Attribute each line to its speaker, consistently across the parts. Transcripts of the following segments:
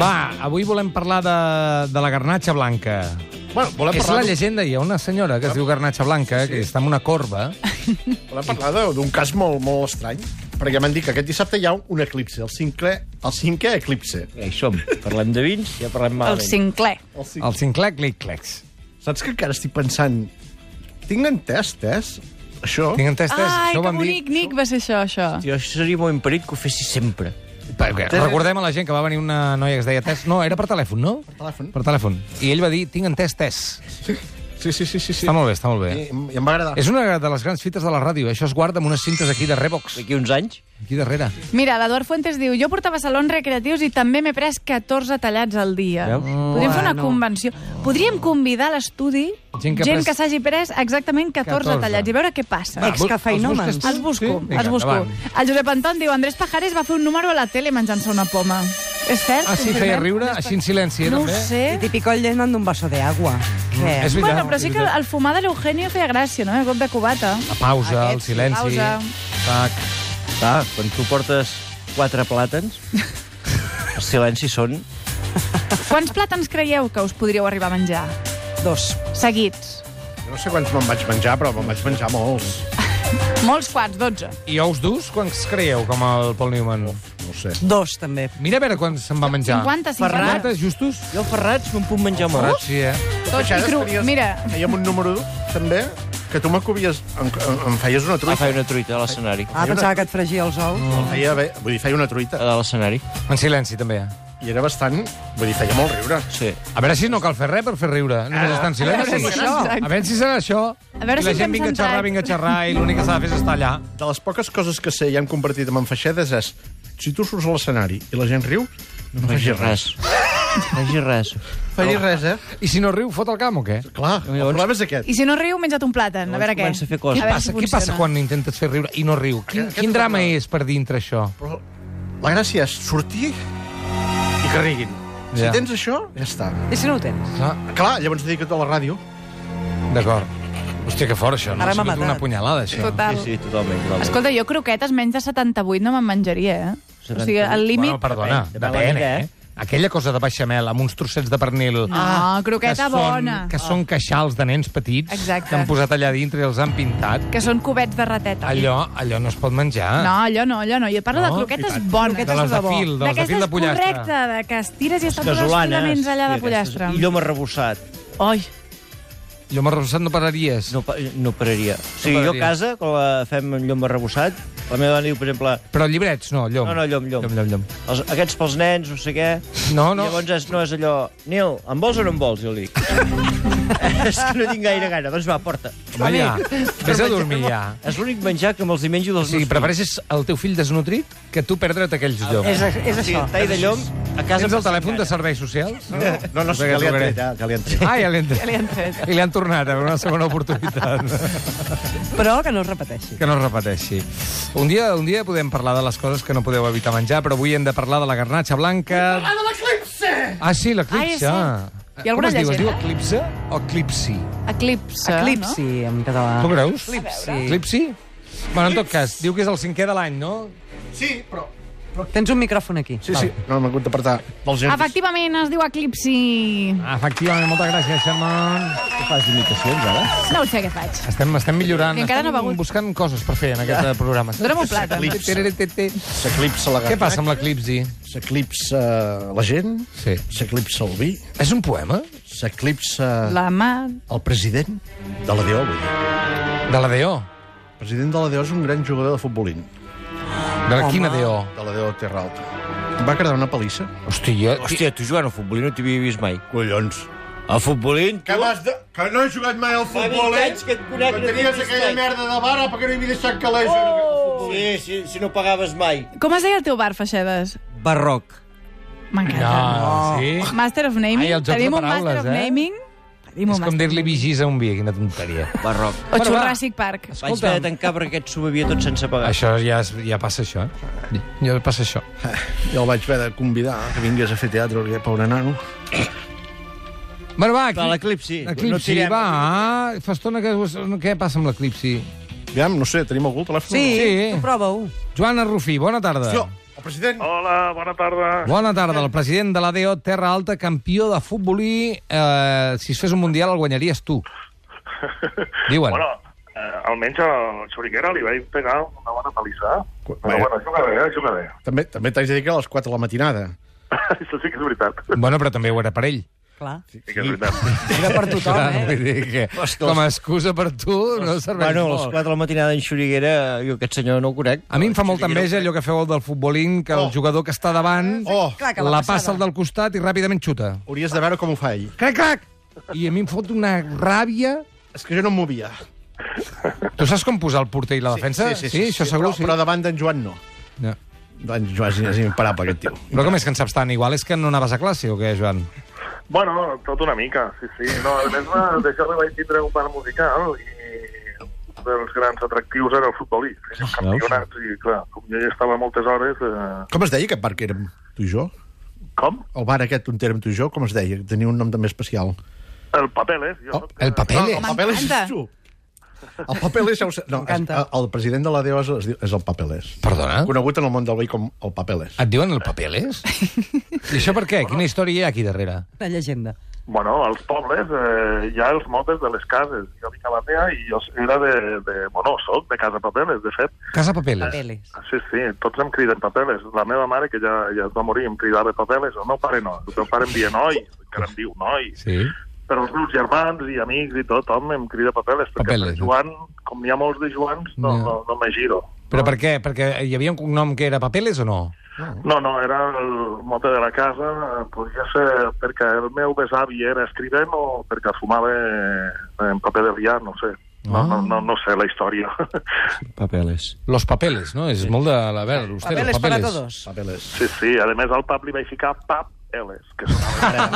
Speaker 1: Va, avui volem parlar de, de la garnatxa blanca.
Speaker 2: Bueno, volem
Speaker 1: És la
Speaker 2: parlar,
Speaker 1: llegenda, hi ha una senyora que es diu Garnatxa Blanca, que està en una corba.
Speaker 2: volem parlar de- d'un cas molt, molt estrany, perquè m'han dit que aquest dissabte hi ha un eclipse, el cinquè, el cinquè eclipse.
Speaker 3: Ja hi som. Parlem de vins, ja parlem
Speaker 4: El
Speaker 3: malament.
Speaker 4: Sinclair.
Speaker 2: El cinquè.
Speaker 1: El Sinclair Clic-Clecs.
Speaker 2: Saps que encara estic pensant... Tinc entès, Tess, això?
Speaker 1: Tinc entès?
Speaker 4: Ai,
Speaker 1: Això ho
Speaker 4: que
Speaker 1: vam dir...
Speaker 4: bonic, Nic, va ser això, això.
Speaker 3: Jo això seria molt imperit que ho fessis sempre.
Speaker 1: Perquè Recordem a la gent que va venir una noia que es deia Tess. No, era per telèfon, no? Per
Speaker 2: telèfon.
Speaker 1: Per telèfon. I ell va dir, tinc entès Tess.
Speaker 2: Sí, sí, sí, sí. sí.
Speaker 1: Està molt bé, està molt bé.
Speaker 2: I, I em va agradar.
Speaker 1: És una de les grans fites de la ràdio. Això es guarda amb unes cintes aquí de Revox,
Speaker 3: D'aquí uns anys.
Speaker 1: aquí darrere.
Speaker 4: Mira, l'Eduard Fuentes diu, jo portava salons recreatius i també m'he pres 14 tallats al dia.
Speaker 3: Veus?
Speaker 4: Podríem fer una convenció. Podríem convidar a l'estudi
Speaker 1: Gent
Speaker 4: gent
Speaker 1: que ha pres-
Speaker 4: que s'hagi pres exactament 14,
Speaker 1: 14.
Speaker 4: tallats i veure què passa.
Speaker 1: Va, vol-
Speaker 5: Excafeïnòmens.
Speaker 1: Ah, els busques tu? Sí?
Speaker 4: Els busco,
Speaker 1: Vinga,
Speaker 4: els busco.
Speaker 1: endavant.
Speaker 4: El Josep Anton diu, Andrés Pajares va fer un número a la tele menjant-se una poma. És cert?
Speaker 1: Ah, sí, feia riure, així en silenci, eh,
Speaker 4: No ho
Speaker 1: també?
Speaker 4: sé.
Speaker 5: Típico el llenando un vaso de agua. Que...
Speaker 1: És veritat.
Speaker 4: Bueno, però sí
Speaker 1: és
Speaker 4: que
Speaker 1: veritat.
Speaker 4: el fumar de l'Eugenio feia gràcia, no? El cop de cubata.
Speaker 1: La pausa,
Speaker 5: Aquest,
Speaker 1: el silenci...
Speaker 4: pausa.
Speaker 1: Tac.
Speaker 3: Clar, quan tu portes quatre plàtans, els silencis són...
Speaker 4: Quants plàtans creieu que us podríeu arribar a menjar?
Speaker 5: Dos.
Speaker 4: Seguits.
Speaker 2: No sé quants me'n vaig menjar, però me'n vaig menjar molts.
Speaker 4: Molts quants, 12.
Speaker 1: I ous durs, quants creieu, com el Paul Newman?
Speaker 2: No ho sé.
Speaker 5: Dos, també.
Speaker 1: Mira a veure quan se'n va menjar.
Speaker 4: 50, 50.
Speaker 1: Ferrats, justos?
Speaker 3: Jo ferrats me'n puc menjar
Speaker 1: Ferrats,
Speaker 3: molts.
Speaker 1: sí, eh?
Speaker 4: Tots i
Speaker 2: Ara
Speaker 4: cru.
Speaker 2: estaries-
Speaker 4: Mira,
Speaker 2: Fèiem un número 1, també, que tu m'acobies... Em, em, em feies una
Speaker 3: Va
Speaker 1: Ah,
Speaker 2: truita.
Speaker 3: fer Ah, una truita a l'escenari.
Speaker 5: Ah, pensava que et fregia els ous.
Speaker 2: Em feia bé, vull dir, feia una truita.
Speaker 3: A l'escenari,
Speaker 1: En silenci, també.
Speaker 2: I era bastant... Vull dir, feia molt riure.
Speaker 3: sí.
Speaker 1: A veure si no cal fer res per fer riure.
Speaker 2: Ah.
Speaker 1: Només estar en silenci.
Speaker 4: si serà això.
Speaker 1: A veure si serà això.
Speaker 4: A veure
Speaker 1: I la
Speaker 4: si ens
Speaker 1: gent
Speaker 4: hem
Speaker 1: vinga a
Speaker 4: centrat.
Speaker 1: xerrar, vinga a xerrar, i l'únic que s'ha de fer és estar allà.
Speaker 2: De les poques coses que sé i hem convertit en enfaixedes és... Si tu surts a l'escenari i la gent riu, no,
Speaker 3: No facis res. No facis res.
Speaker 2: Facis res, eh?
Speaker 1: I si no riu, fot el camp o què?
Speaker 2: Clar, el problema és aquest.
Speaker 4: i si no riu, menja't un plàtan. A veure què.
Speaker 3: comença a fer coses.
Speaker 4: A
Speaker 1: Què
Speaker 4: veure
Speaker 1: passa,
Speaker 4: si
Speaker 1: què
Speaker 4: funciona.
Speaker 1: passa quan intentes fer riure i no riu? Quin,
Speaker 2: Aquest-
Speaker 1: quin
Speaker 2: aquest
Speaker 1: drama
Speaker 2: és el
Speaker 1: és per dintre això?
Speaker 2: Però la gràcia és sortir i que riguin. Si
Speaker 1: Ja.
Speaker 2: tens això, ja està.
Speaker 5: I si no ho tens?
Speaker 1: Ah,
Speaker 2: Clar, llavors dedica't a la ràdio.
Speaker 1: D'acord. Hòstia, que fort, això. No?
Speaker 5: Ara
Speaker 1: Ha sigut
Speaker 5: m'ha
Speaker 1: una
Speaker 5: matat.
Speaker 1: punyalada, això.
Speaker 4: Total.
Speaker 3: Sí, sí, totalment. totalment.
Speaker 4: Escolta, jo croquetes menys de 78 no me'n menjaria, eh? O sigui, el límit...
Speaker 1: Bueno, perdona,
Speaker 3: Depèn,
Speaker 1: depèn,
Speaker 3: depèn de què,
Speaker 1: eh? Aquella cosa de beixamel amb uns trossets de pernil...
Speaker 4: No,
Speaker 1: que
Speaker 4: croqueta
Speaker 1: són,
Speaker 4: bona.
Speaker 1: Que són queixals de nens petits
Speaker 4: Exacte.
Speaker 1: que han posat allà dintre i els han pintat.
Speaker 4: Que són cubets de rateta.
Speaker 1: Allò, allò no es pot menjar.
Speaker 4: No, allò no, allò no. Jo parlo
Speaker 1: No,
Speaker 4: de croquetes
Speaker 1: i tant.
Speaker 4: bones.
Speaker 1: De les de fil, de les de fil de pollastre.
Speaker 4: Correcte, de que estires i estan tots els
Speaker 3: Gasolanes.
Speaker 4: filaments allà
Speaker 3: Sí, aquestes.
Speaker 4: de pollastre.
Speaker 3: I llom arrebossat.
Speaker 4: Oi,
Speaker 1: Jo m'ha arrebossat no pararies.
Speaker 3: No, pa- no pararia. O sigui, jo a
Speaker 1: pararia.
Speaker 3: casa, quan la fem amb llom arrebossat, la meva dona diu, per exemple,
Speaker 1: Però llibrets, no, llom.
Speaker 3: No, no, llom, llom.
Speaker 1: Llom, llom, llom.
Speaker 3: els, aquests pels nens, no sé què.
Speaker 1: No, no.
Speaker 3: Llavors és, no és allò... Nil, em vols o no em vols? Jo li dic. és que no tinc gaire gana. Doncs va, porta.
Speaker 1: Home, ja. Vés a dormir, ja.
Speaker 3: És l'únic menjar que me'ls hi menjo
Speaker 1: O
Speaker 3: dels
Speaker 1: sigui,
Speaker 3: meus
Speaker 1: prefereixes el teu fill desnutrit que tu perdre't aquells lloms.
Speaker 5: És, és
Speaker 3: fills. Sí,
Speaker 5: això.
Speaker 3: tall de llom, a casa...
Speaker 1: Tens el
Speaker 3: passa
Speaker 1: telèfon de
Speaker 3: gana.
Speaker 1: serveis socials?
Speaker 2: No, no,
Speaker 1: que
Speaker 2: que li han
Speaker 1: trucaré.
Speaker 2: tret,
Speaker 3: eh,
Speaker 2: ja, que li han tret.
Speaker 1: Ah, ja l'han
Speaker 4: ja li han tret.
Speaker 1: I li han tornat a una segona oportunitat.
Speaker 5: Però que no es repeteixi.
Speaker 1: Que no es repeteixi. Un dia, un dia podem parlar de les coses que no podeu evitar menjar, però avui hem de parlar de la garnatxa blanca... Ah, de l'eclipse! Ah, sí,
Speaker 4: Ah, és
Speaker 1: l'eclipse.
Speaker 4: cert. Hi ha
Speaker 1: Com
Speaker 4: alguna
Speaker 1: es diu? Es diu
Speaker 4: llegenda?
Speaker 1: eclipse o eclipsi?
Speaker 4: eclipse, Ah, no?
Speaker 5: Eclipsi, en
Speaker 1: Tu
Speaker 5: català.
Speaker 1: creus? Eclipsi. Eclipsi? Bueno, en tot cas, diu que és el cinquè de l'any, no?
Speaker 2: Sí, però...
Speaker 5: Tens un micròfon aquí.
Speaker 2: Sí, sí, Ah, no m'he hagut d'apartar dels
Speaker 1: ah,
Speaker 2: gens.
Speaker 4: Efectivament, es diu eclipsi.
Speaker 1: Efectivament, moltes gràcies, Xerman. Tu fas imitacions, ara?
Speaker 4: No ho sé què faig.
Speaker 1: Estem, estem millorant,
Speaker 4: Que encara
Speaker 1: estem
Speaker 4: no ha begut.
Speaker 1: buscant coses per fer en aquest eh, programa.
Speaker 4: Dona'm un plat.
Speaker 2: Eclipse. S'eclipsa la
Speaker 1: Què
Speaker 2: garganta,
Speaker 1: passa amb l'eclipsi?
Speaker 2: s'eclipsa
Speaker 3: eh,
Speaker 2: la gent,
Speaker 1: Sí.
Speaker 2: s'eclipsa el vi,
Speaker 1: És un poema?
Speaker 2: s'eclipsa
Speaker 4: La mà...
Speaker 2: el president de la DO. vull dir.
Speaker 1: De la D.O.
Speaker 2: El president de la DO és un gran jugador de futbolín,
Speaker 1: De la quina D.O.?
Speaker 2: de la DO Terra Alta. Em va quedar una palissa.
Speaker 1: Hòstia, jo...
Speaker 3: Hòstia, tu jugant al futbolí no t'hi havia vist mai.
Speaker 2: Collons.
Speaker 3: Al futbolí...
Speaker 2: Que, vas de... que no he jugat mai al futbol, eh?
Speaker 3: que et conec,
Speaker 2: Quan tenies aquella merda de vara perquè no hi havia deixat calés.
Speaker 3: Sí, sí, si no pagaves mai.
Speaker 4: Com es deia el teu bar, Feixedes?
Speaker 3: Barroc.
Speaker 1: No,
Speaker 4: M'encanta.
Speaker 1: sí.
Speaker 4: Master of Naming.
Speaker 1: Ai, el joc de
Speaker 4: Tenim un
Speaker 1: paraules,
Speaker 4: Master of
Speaker 1: eh?
Speaker 4: Naming. Tenim un
Speaker 1: És com
Speaker 4: Master
Speaker 1: dir-li vigis a un vi, quina tonteria.
Speaker 3: Barroc.
Speaker 4: O
Speaker 1: Bueno, va.
Speaker 4: Jurassic Park.
Speaker 3: Vaig haver de tancar perquè aquest s'ho bevia tot sense pagar.
Speaker 1: Això ja, es- ja passa això, eh? Ja passa això.
Speaker 2: Jo el vaig haver de convidar que vingués a fer teatre, perquè, pobre nano.
Speaker 1: Bueno, va,
Speaker 3: A
Speaker 1: aquí...
Speaker 3: l'eclipsi.
Speaker 1: Eclipsi,
Speaker 3: tirem.
Speaker 1: va, fa estona que... Què passa amb l'eclipsi?
Speaker 2: Aviam, no sé, tenim algú al telèfon?
Speaker 5: Sí,
Speaker 1: Sí.
Speaker 5: tu prova-ho.
Speaker 1: Joana Rufí, bona tarda.
Speaker 2: Hòstia, el president...
Speaker 6: Hola, bona tarda.
Speaker 1: Bona tarda, el president de l'ADO Terra Alta, campió de futbolí. Eh, si es fes un mundial el guanyaries tu. Diuen.
Speaker 6: Bueno, eh, almenys al Xoriquera li vaig pegar una bona eh? palissa.
Speaker 2: Cu-
Speaker 6: Però bueno, juga bé, eh? juga bé.
Speaker 2: També, també t'haig de dir que a les 4 de la matinada.
Speaker 6: Això sí que és veritat.
Speaker 1: Bueno, però també ho era per ell.
Speaker 5: Clar.
Speaker 6: Sí que és veritat.
Speaker 5: Era per tothom,
Speaker 1: Clar,
Speaker 5: eh?
Speaker 1: vull dir que, com a excusa per tu no serveix
Speaker 3: Bueno, a les
Speaker 1: molt.
Speaker 3: 4 de la matinada en Xuriguera, jo aquest senyor no el conec.
Speaker 1: A mi em fa molta enveja allò que feu el del futbolín, que el
Speaker 2: Oh.
Speaker 1: jugador que està davant
Speaker 2: Oh.
Speaker 5: Clar, que la
Speaker 1: la
Speaker 5: passada.
Speaker 1: passa al del costat i ràpidament xuta.
Speaker 2: Hauries de veure com ho fa ell.
Speaker 1: Crac, crac! I a mi em fot una ràbia...
Speaker 2: És que jo no em movia.
Speaker 1: Tu saps com posar el porter i la defensa? sí això segur,
Speaker 2: però,
Speaker 1: sí.
Speaker 2: Però davant d'en Joan no.
Speaker 1: Ja.
Speaker 2: D'en Joan és- és imparable, aquest tio.
Speaker 1: Però com és que en saps tant? Igual és que no anaves a classe o què, Joan?
Speaker 6: bueno, tot una mica, sí, sí. No, a més, eh, d'això li vaig tindre un part musical i un dels grans atractius era el futbolí. Fes campionats i, clar, com jo hi estava moltes hores... Eh...
Speaker 2: Com es deia aquest bar que érem tu i jo?
Speaker 6: Com?
Speaker 2: El bar aquest on érem tu i jo, com es deia? Tenia un nom també especial.
Speaker 6: El paper, eh? Jo, soc, eh,
Speaker 1: Oh, El paper?
Speaker 2: el Papeles
Speaker 4: M'encanta.
Speaker 2: és tu. El Papeles... ja ho sé- No, és,
Speaker 5: M'encanta.
Speaker 2: el president de la DOS es, diu- és el Papeles.
Speaker 1: Perdona?
Speaker 2: Conegut en el món del veí com el Papeles.
Speaker 1: Et diuen el papeles? I això per què? Quina història hi ha aquí darrere?
Speaker 5: Una llegenda.
Speaker 6: Bueno, als pobles eh, hi ha els mobles de les cases. Jo vinc a la meva i jo era de, de bueno, soc de Casa Papeles, de fet. Ah,
Speaker 1: Casa Papeles.
Speaker 5: Papeles.
Speaker 6: Sí, sí, tots em criden papeles. La meva mare, que ja, ja es va morir, em cridava papeles. El meu pare no. El meu pare em deia noi, que ara em diu noi.
Speaker 1: Sí.
Speaker 6: Però els meus germans i amics i tot, home, em crida papeles. Perquè
Speaker 1: Papeles,
Speaker 6: per Joan, com n'hi ha molts de Joans, no,
Speaker 1: Ja.
Speaker 6: no, no me giro.
Speaker 1: Però per què? Perquè hi havia un cognom que era papeles o no?
Speaker 6: No, no, era el mote de la casa, eh, podria ser perquè el meu besavi era escrivent o perquè fumava eh, en paper de liar, no sé. No, no, no, no sé la història.
Speaker 3: Papeles.
Speaker 1: Los papeles, no? És molt de... A veure, usted,
Speaker 5: Papeles
Speaker 1: los
Speaker 5: para
Speaker 1: papeles.
Speaker 5: todos.
Speaker 2: Papeles.
Speaker 6: sí, sí, a més al pap li vaig ficar pap Ls, que sonava.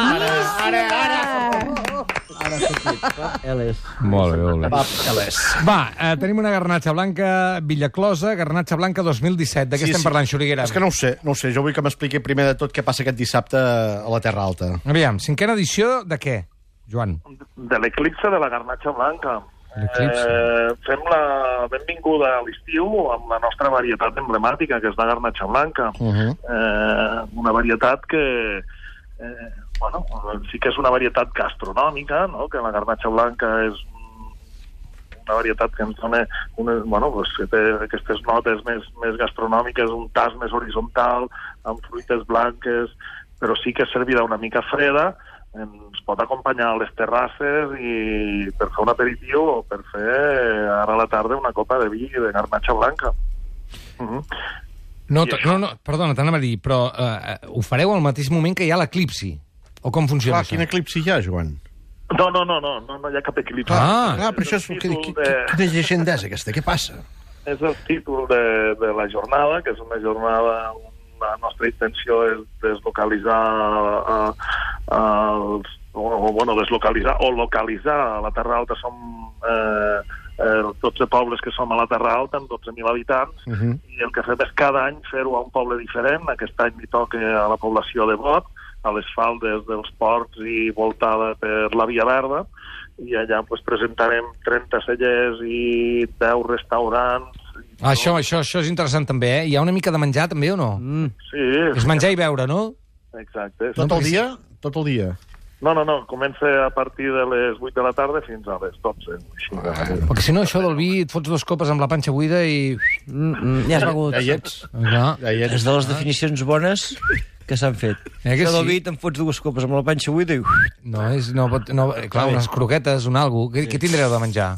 Speaker 3: Papeles.
Speaker 1: Molt bé, molt bé.
Speaker 2: Papeles.
Speaker 1: Va, eh, tenim una garnatxa blanca Villaclosa, garnatxa blanca 2017. De què
Speaker 2: Sí,
Speaker 1: estem
Speaker 2: sí.
Speaker 1: parlant, Xuriguera?
Speaker 2: És que no ho sé, no ho sé. Jo vull que m'expliqui primer de tot què passa aquest dissabte a la Terra Alta.
Speaker 1: Aviam, cinquena edició de què, Joan?
Speaker 6: De l'eclipse de la garnatxa blanca.
Speaker 1: L'eclipse.
Speaker 6: Eh, fem la benvinguda a l'estiu amb la nostra varietat emblemàtica, que és la garnatxa blanca. Uh
Speaker 2: Mhm.
Speaker 6: eh, una varietat que... Eh, bueno, sí que és una varietat gastronòmica, no? que la garnatxa blanca és un- una varietat que ens dona una, bueno, doncs, que té aquestes notes més, més gastronòmiques, un tas més horitzontal, amb fruites blanques, però sí que és servida una mica freda, ens pot acompanyar a les terrasses i per fer un aperitiu o per fer eh, ara a la tarda una copa de vi de garnatxa blanca. Mm
Speaker 1: No,
Speaker 6: I
Speaker 1: t-
Speaker 6: això?
Speaker 1: no, no, perdona, t'anava a dir, però eh, eh, ho fareu al mateix moment que hi ha l'eclipsi? O com funciona
Speaker 2: Clar,
Speaker 1: això?
Speaker 2: quin eclipsi hi ha, Joan?
Speaker 6: No, no, no, no, no, no hi ha cap equilibri.
Speaker 1: Ah.
Speaker 2: Clar, però això és...
Speaker 6: el
Speaker 2: Que, que,
Speaker 6: títol
Speaker 2: que,
Speaker 6: de,
Speaker 2: quina llegenda és aquesta? Què passa?
Speaker 6: és el títol de, de la jornada, que és una jornada on la nostra intenció és deslocalitzar eh, els, o, o, bueno, deslocalitzar o localitzar a la Terra Alta som eh, eh, 12 pobles que som a la Terra Alta amb 12.000 habitants uh -huh. i el que fem és cada any fer-ho a un poble diferent aquest any li toca a la població de Bot a les faldes dels ports i voltada per la Via Verda i allà pues, presentarem 30 cellers i 10 restaurants. i
Speaker 1: Ah,
Speaker 6: tot.
Speaker 1: això, això, això és interessant també, eh? Hi ha una mica de menjar també o no?
Speaker 5: Mm.
Speaker 6: Sí,
Speaker 1: És menjar i beure, no?
Speaker 6: exacte.
Speaker 2: Tot
Speaker 1: perquè
Speaker 2: el dia? Tot el dia.
Speaker 6: No, no, no, comença a partir de les 8 de la tarda fins a les 12. Així.
Speaker 1: Perquè si no, això del vi, et fots dues copes amb la panxa buida i...
Speaker 5: Mm, mm, ja has begut.
Speaker 2: Ja hi ets.
Speaker 1: Ah,
Speaker 2: Ja hi
Speaker 3: És
Speaker 2: ets.
Speaker 3: de les definicions bones que s'han fet.
Speaker 1: Eh que
Speaker 3: Això del
Speaker 1: sí?
Speaker 3: vi, te'n fots dues copes amb la panxa buida i...
Speaker 1: no, és, no, pot, no, eh, clar, unes croquetes, un algo. Què, què tindreu de menjar?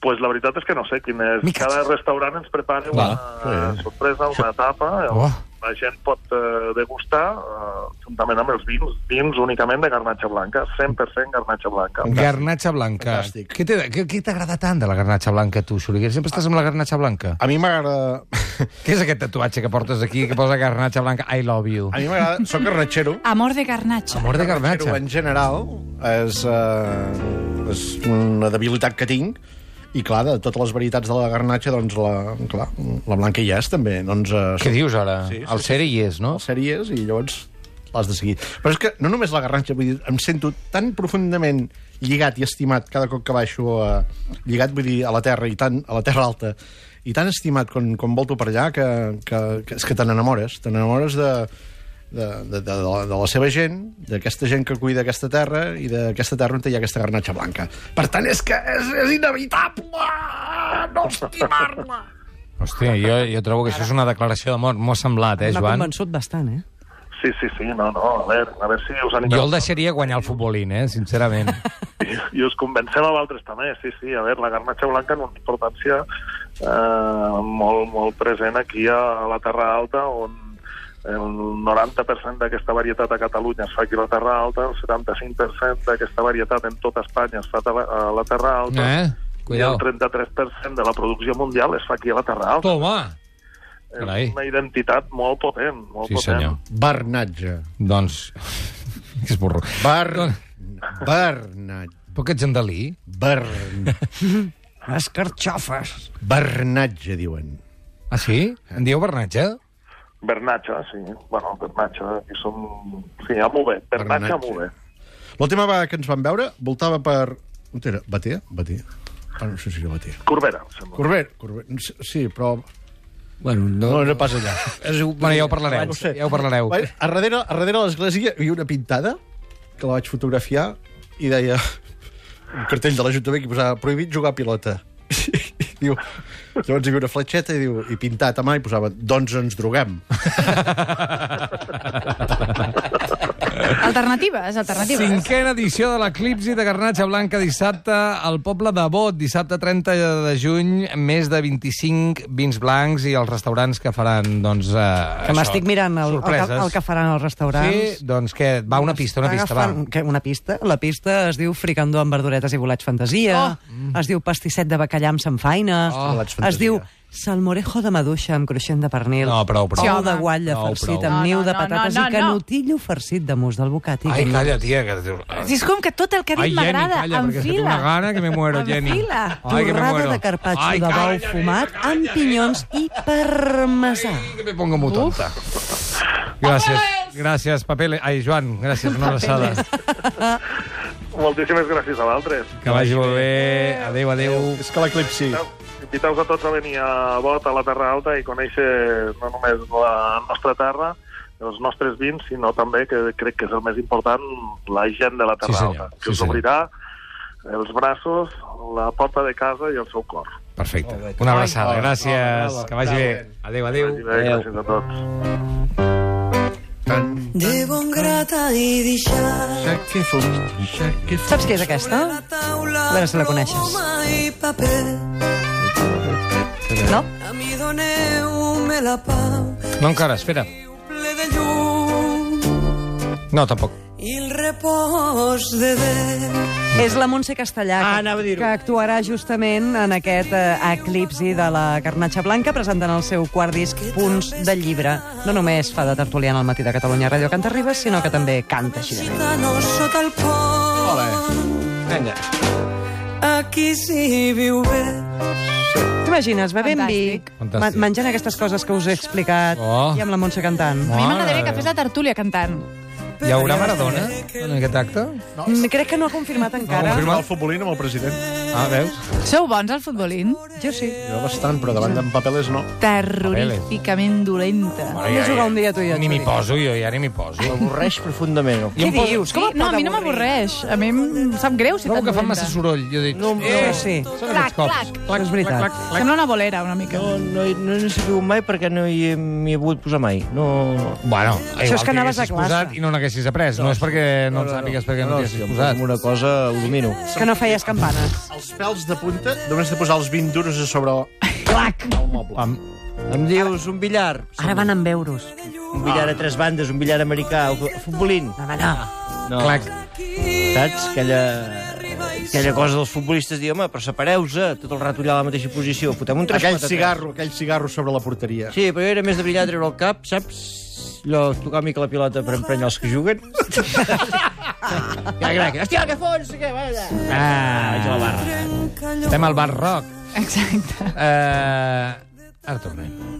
Speaker 6: pues la veritat és que no sé quin és.
Speaker 1: Mica.
Speaker 6: Cada restaurant ens prepara
Speaker 1: Va,
Speaker 6: una sorpresa, una tapa.
Speaker 1: Oh.
Speaker 6: La gent pot eh, degustar eh, juntament amb els vins, vins únicament de garnatxa blanca, 100% garnatxa blanca.
Speaker 1: Garnatxa blanca.
Speaker 2: Fantàstic.
Speaker 1: Què t'he- Què què t'agrada tant de la garnatxa blanca, tu, Xuriguer? Sempre estàs amb la garnatxa blanca.
Speaker 2: A mi m'agrada...
Speaker 1: Què és aquest tatuatge que portes aquí que posa garnatxa blanca? I love you.
Speaker 2: A mi m'agrada... Soc garnatxero.
Speaker 4: Amor de garnatxa.
Speaker 1: Amor de
Speaker 2: Però
Speaker 1: garnatxa.
Speaker 2: en general és, eh, és una debilitat que tinc i clar, de totes les varietats de la garnatxa doncs la, clar, la blanca hi és també doncs, eh,
Speaker 1: Què
Speaker 2: són
Speaker 1: dius ara?
Speaker 2: Sí, sí,
Speaker 1: El cere hi és, no?
Speaker 2: les sèries i llavors l'has de seguir però és que no només la garnatxa vull dir, em sento tan profundament lligat i estimat cada cop que baixo a... lligat vull dir a la terra i tant, a la terra alta i tan estimat quan, quan volto per allà que, que, que és que te n'enamores te n'enamores de, de, de, de, de, la, de la seva gent d'aquesta gent que cuida aquesta terra i d'aquesta terra on hi ha aquesta garnatxa blanca per tant és que és, és inevitable no estimar-la
Speaker 1: Hòstia, jo, jo trobo que això és una declaració d'amor. M'ho ha semblat, eh,
Speaker 5: M'ha
Speaker 1: Joan?
Speaker 5: convençut bastant, eh?
Speaker 6: Sí, sí, sí, no, no, a veure, a veure si us animeu.
Speaker 1: Jo el deixaria guanyar el futbolín, eh, sincerament.
Speaker 6: I, i us convencem a vosaltres també, sí, sí, a veure, la garnatxa blanca en una importància eh, molt, molt present aquí a la Terra Alta, on el 90% d'aquesta varietat a Catalunya es fa aquí a la Terra Alta, el 75% d'aquesta varietat en tota Espanya es fa a la- a la Terra Alta,
Speaker 1: Eh?
Speaker 6: i el
Speaker 1: Cuidao.
Speaker 6: 33% de la producció mundial es fa aquí a la Terra Alta.
Speaker 1: Toma! Carai.
Speaker 6: És una identitat molt potent, molt
Speaker 1: Sí,
Speaker 6: potent.
Speaker 1: senyor.
Speaker 2: Bernatge
Speaker 1: Doncs... És burro.
Speaker 2: Bar...
Speaker 1: Doncs-
Speaker 2: Bernat...
Speaker 1: Però que ets andalí?
Speaker 2: Bern...
Speaker 5: Escarxofes.
Speaker 2: Bernatge, diuen.
Speaker 1: Ah, sí? En dieu Bernatge?
Speaker 6: Bernatxa, sí. Bueno, Bernatxa, aquí som... Sí, a molt bé. Bernatxa, a molt bé.
Speaker 2: L'última vegada que ens vam veure voltava per... On era? Batea? Batea. Ah, no sé si era Batea.
Speaker 6: Corbera, em sembla.
Speaker 2: Corbet, Corbet. Sí, Sí, però...
Speaker 1: Bueno,
Speaker 2: No, no pas allà. És...
Speaker 1: Bueno, ja ho parlareu, ja ho parlareu.
Speaker 2: Vaig- A darrere, a darrere de l'església hi havia una pintada que la vaig fotografiar i deia un cartell de l'Ajuntament que hi posava prohibit jugar a pilota. diu, llavors hi havia una fletxeta i, diu, i pintat a mà i posava doncs ens droguem.
Speaker 4: Alternatives, alternatives.
Speaker 1: Cinquena edició de l'Eclipsi de Garnatxa Blanca dissabte al poble de Bot, dissabte 30 de juny, més de 25 vins blancs i els restaurants que faran, doncs... Eh,
Speaker 5: Que m'estic mirant el, el,
Speaker 1: Sorpreses.
Speaker 5: que, el que faran els restaurants.
Speaker 1: Sí, doncs què? Va, una pista, una pista, va.
Speaker 5: Agafen- Què, una pista? La pista es diu fricandó amb verduretes i bolats fantasia,
Speaker 1: Mm.
Speaker 5: oh. es diu pastisset de bacallà amb samfaina,
Speaker 2: Oh. Bolats fantasia.
Speaker 5: es diu salmorejo de maduixa amb cruixent de pernil,
Speaker 1: No, prou, prou.
Speaker 4: Sí,
Speaker 5: ou
Speaker 4: home.
Speaker 5: de guatlla
Speaker 1: No,
Speaker 5: farcit
Speaker 1: prou.
Speaker 5: amb
Speaker 4: No,
Speaker 5: niu
Speaker 4: no,
Speaker 5: de
Speaker 4: no,
Speaker 5: patates
Speaker 4: no,
Speaker 5: i
Speaker 4: no.
Speaker 5: canutillo farcit de mousse del bocati.
Speaker 1: Ai,
Speaker 5: que-
Speaker 1: calla, tia, que...
Speaker 4: Si és com que tot el que ha
Speaker 1: Ai,
Speaker 4: dit
Speaker 1: Jenny,
Speaker 4: m'agrada,
Speaker 1: calla, perquè
Speaker 4: en
Speaker 1: és que tinc
Speaker 4: fila.
Speaker 1: una gana que me muero,
Speaker 4: En
Speaker 1: Jenny.
Speaker 4: fila.
Speaker 1: Ai, que me
Speaker 5: Torrada
Speaker 1: muero.
Speaker 5: de carpaccio
Speaker 1: Ai,
Speaker 5: de
Speaker 1: calla,
Speaker 5: bou
Speaker 1: Jenny,
Speaker 5: fumat amb pinyons i parmesà.
Speaker 1: Que me pongo muy tonta. Gràcies, gràcies, Papeles. Ai, Joan, gràcies, una abraçada.
Speaker 6: Moltíssimes gràcies a vosaltres.
Speaker 1: Que vagi molt bé. Adéu, adéu.
Speaker 2: És que l'eclipsi...
Speaker 6: Inviteu-vos a tots a venir a Bot, a la Terra Alta, i conèixer no només la nostra terra, els nostres vins, sinó també, que crec que és el més important, la gent de la Terra
Speaker 1: Sí, senyor.
Speaker 6: Alta, que
Speaker 1: Sí,
Speaker 6: us
Speaker 1: senyor.
Speaker 6: obrirà els braços, la porta de casa i el seu cor.
Speaker 1: Perfecte. Una abraçada, gràcies. Que vagi bé. Adéu, adéu.
Speaker 6: I bé, gràcies a tots.
Speaker 7: Llevo un grata i deixar
Speaker 5: Saps què és aquesta?
Speaker 7: la taula
Speaker 5: A veure si la coneixes.
Speaker 7: ploma i paper.
Speaker 5: No?
Speaker 7: A mi doneu-me la pau
Speaker 1: No encara, espera.
Speaker 7: ple de llum
Speaker 1: No, tampoc.
Speaker 7: i el repòs de Déu.
Speaker 5: És la Montse Castellà,
Speaker 3: Ah, anava a
Speaker 5: que,
Speaker 3: dir-ho.
Speaker 5: que actuarà justament en aquest eh, eclipsi de la Garnatxa Blanca, presentant el seu quart disc, Punts de Llibre. No només fa de tertuliana al matí de Catalunya Ràdio Canta Ribes, sinó que també canta així de bé.
Speaker 7: Gitanos sota el pont. Aquí s'hi viu bé.
Speaker 5: T'imagines, bevent vi,
Speaker 4: Fantàstic.
Speaker 5: ma-
Speaker 1: Fantàstic.
Speaker 5: menjant aquestes coses que us he explicat,
Speaker 1: Oh.
Speaker 5: i amb la Montse cantant.
Speaker 4: A mi
Speaker 1: Mare
Speaker 4: m'agradaria
Speaker 1: de
Speaker 4: que fes la tertúlia cantant.
Speaker 1: Hi haurà Maradona en aquest acte?
Speaker 5: Mm, Crec que no ha confirmat encara.
Speaker 1: confirmat.
Speaker 2: El futbolín amb el president.
Speaker 1: Ah, veus?
Speaker 4: Sou bons al futbolín?
Speaker 5: Jo sí.
Speaker 2: Jo bastant, però davant d'en Papeles no.
Speaker 4: Terroríficament dolenta.
Speaker 5: Hem de jugar un dia tu i jo,
Speaker 1: Ni m'hi
Speaker 5: Xavi.
Speaker 1: poso, jo ja ni m'hi poso.
Speaker 3: Avorreix profundament.
Speaker 5: Què dius?
Speaker 4: Sí,
Speaker 5: Com et
Speaker 4: no,
Speaker 5: pot
Speaker 4: a mi no
Speaker 5: avorrir?
Speaker 4: m'avorreix. A mi em sap greu ser
Speaker 1: Trobo
Speaker 4: tan
Speaker 1: que fan
Speaker 4: dolenta.
Speaker 1: massa soroll. Jo dic...
Speaker 3: No,
Speaker 5: Eh, sí.
Speaker 1: Són aquests cops.
Speaker 5: Clac, és veritat. Clac,
Speaker 4: Sembla una bolera, una mica.
Speaker 3: No, no, he- no n'he sabut mai perquè no hi he- m'hi he volgut posar mai. No...
Speaker 1: Bueno, igual
Speaker 5: és que
Speaker 1: t'hi
Speaker 5: anaves a
Speaker 1: haguessis
Speaker 5: classe.
Speaker 1: posat i no n'haguessis après. No, és perquè no en sàpigues perquè no t'hi
Speaker 3: si
Speaker 1: haguessis
Speaker 3: em
Speaker 1: posat.
Speaker 3: poso Una cosa ho domino.
Speaker 5: Que no feies campanes.
Speaker 2: Els pèls de punta només has de posar els 20 duros a sobre el moble.
Speaker 1: Pam.
Speaker 3: Em dius un billar?
Speaker 5: Ara van amb euros.
Speaker 3: Un billar a tres bandes, un billar americà, un futbolín.
Speaker 5: Demà no.
Speaker 3: No.
Speaker 1: Clac.
Speaker 3: Saps? Aquella, aquella cosa dels futbolistes, dir, home, però separeu-se, tot el rato allà a la mateixa posició, fotem un tres
Speaker 2: Aquell
Speaker 3: quatre, tres.
Speaker 2: cigarro, aquell cigarro sobre la porteria.
Speaker 3: Sí, però jo era més de brillar a treure el cap, saps? Allò, tocar mica la pilota per emprenyar els que juguen. ja, grac. Hòstia, que fons! Que vaya. Ah, jo la barra.
Speaker 1: Estem al Bar Rock.
Speaker 4: Exacte.
Speaker 1: Eh... Ara tornem.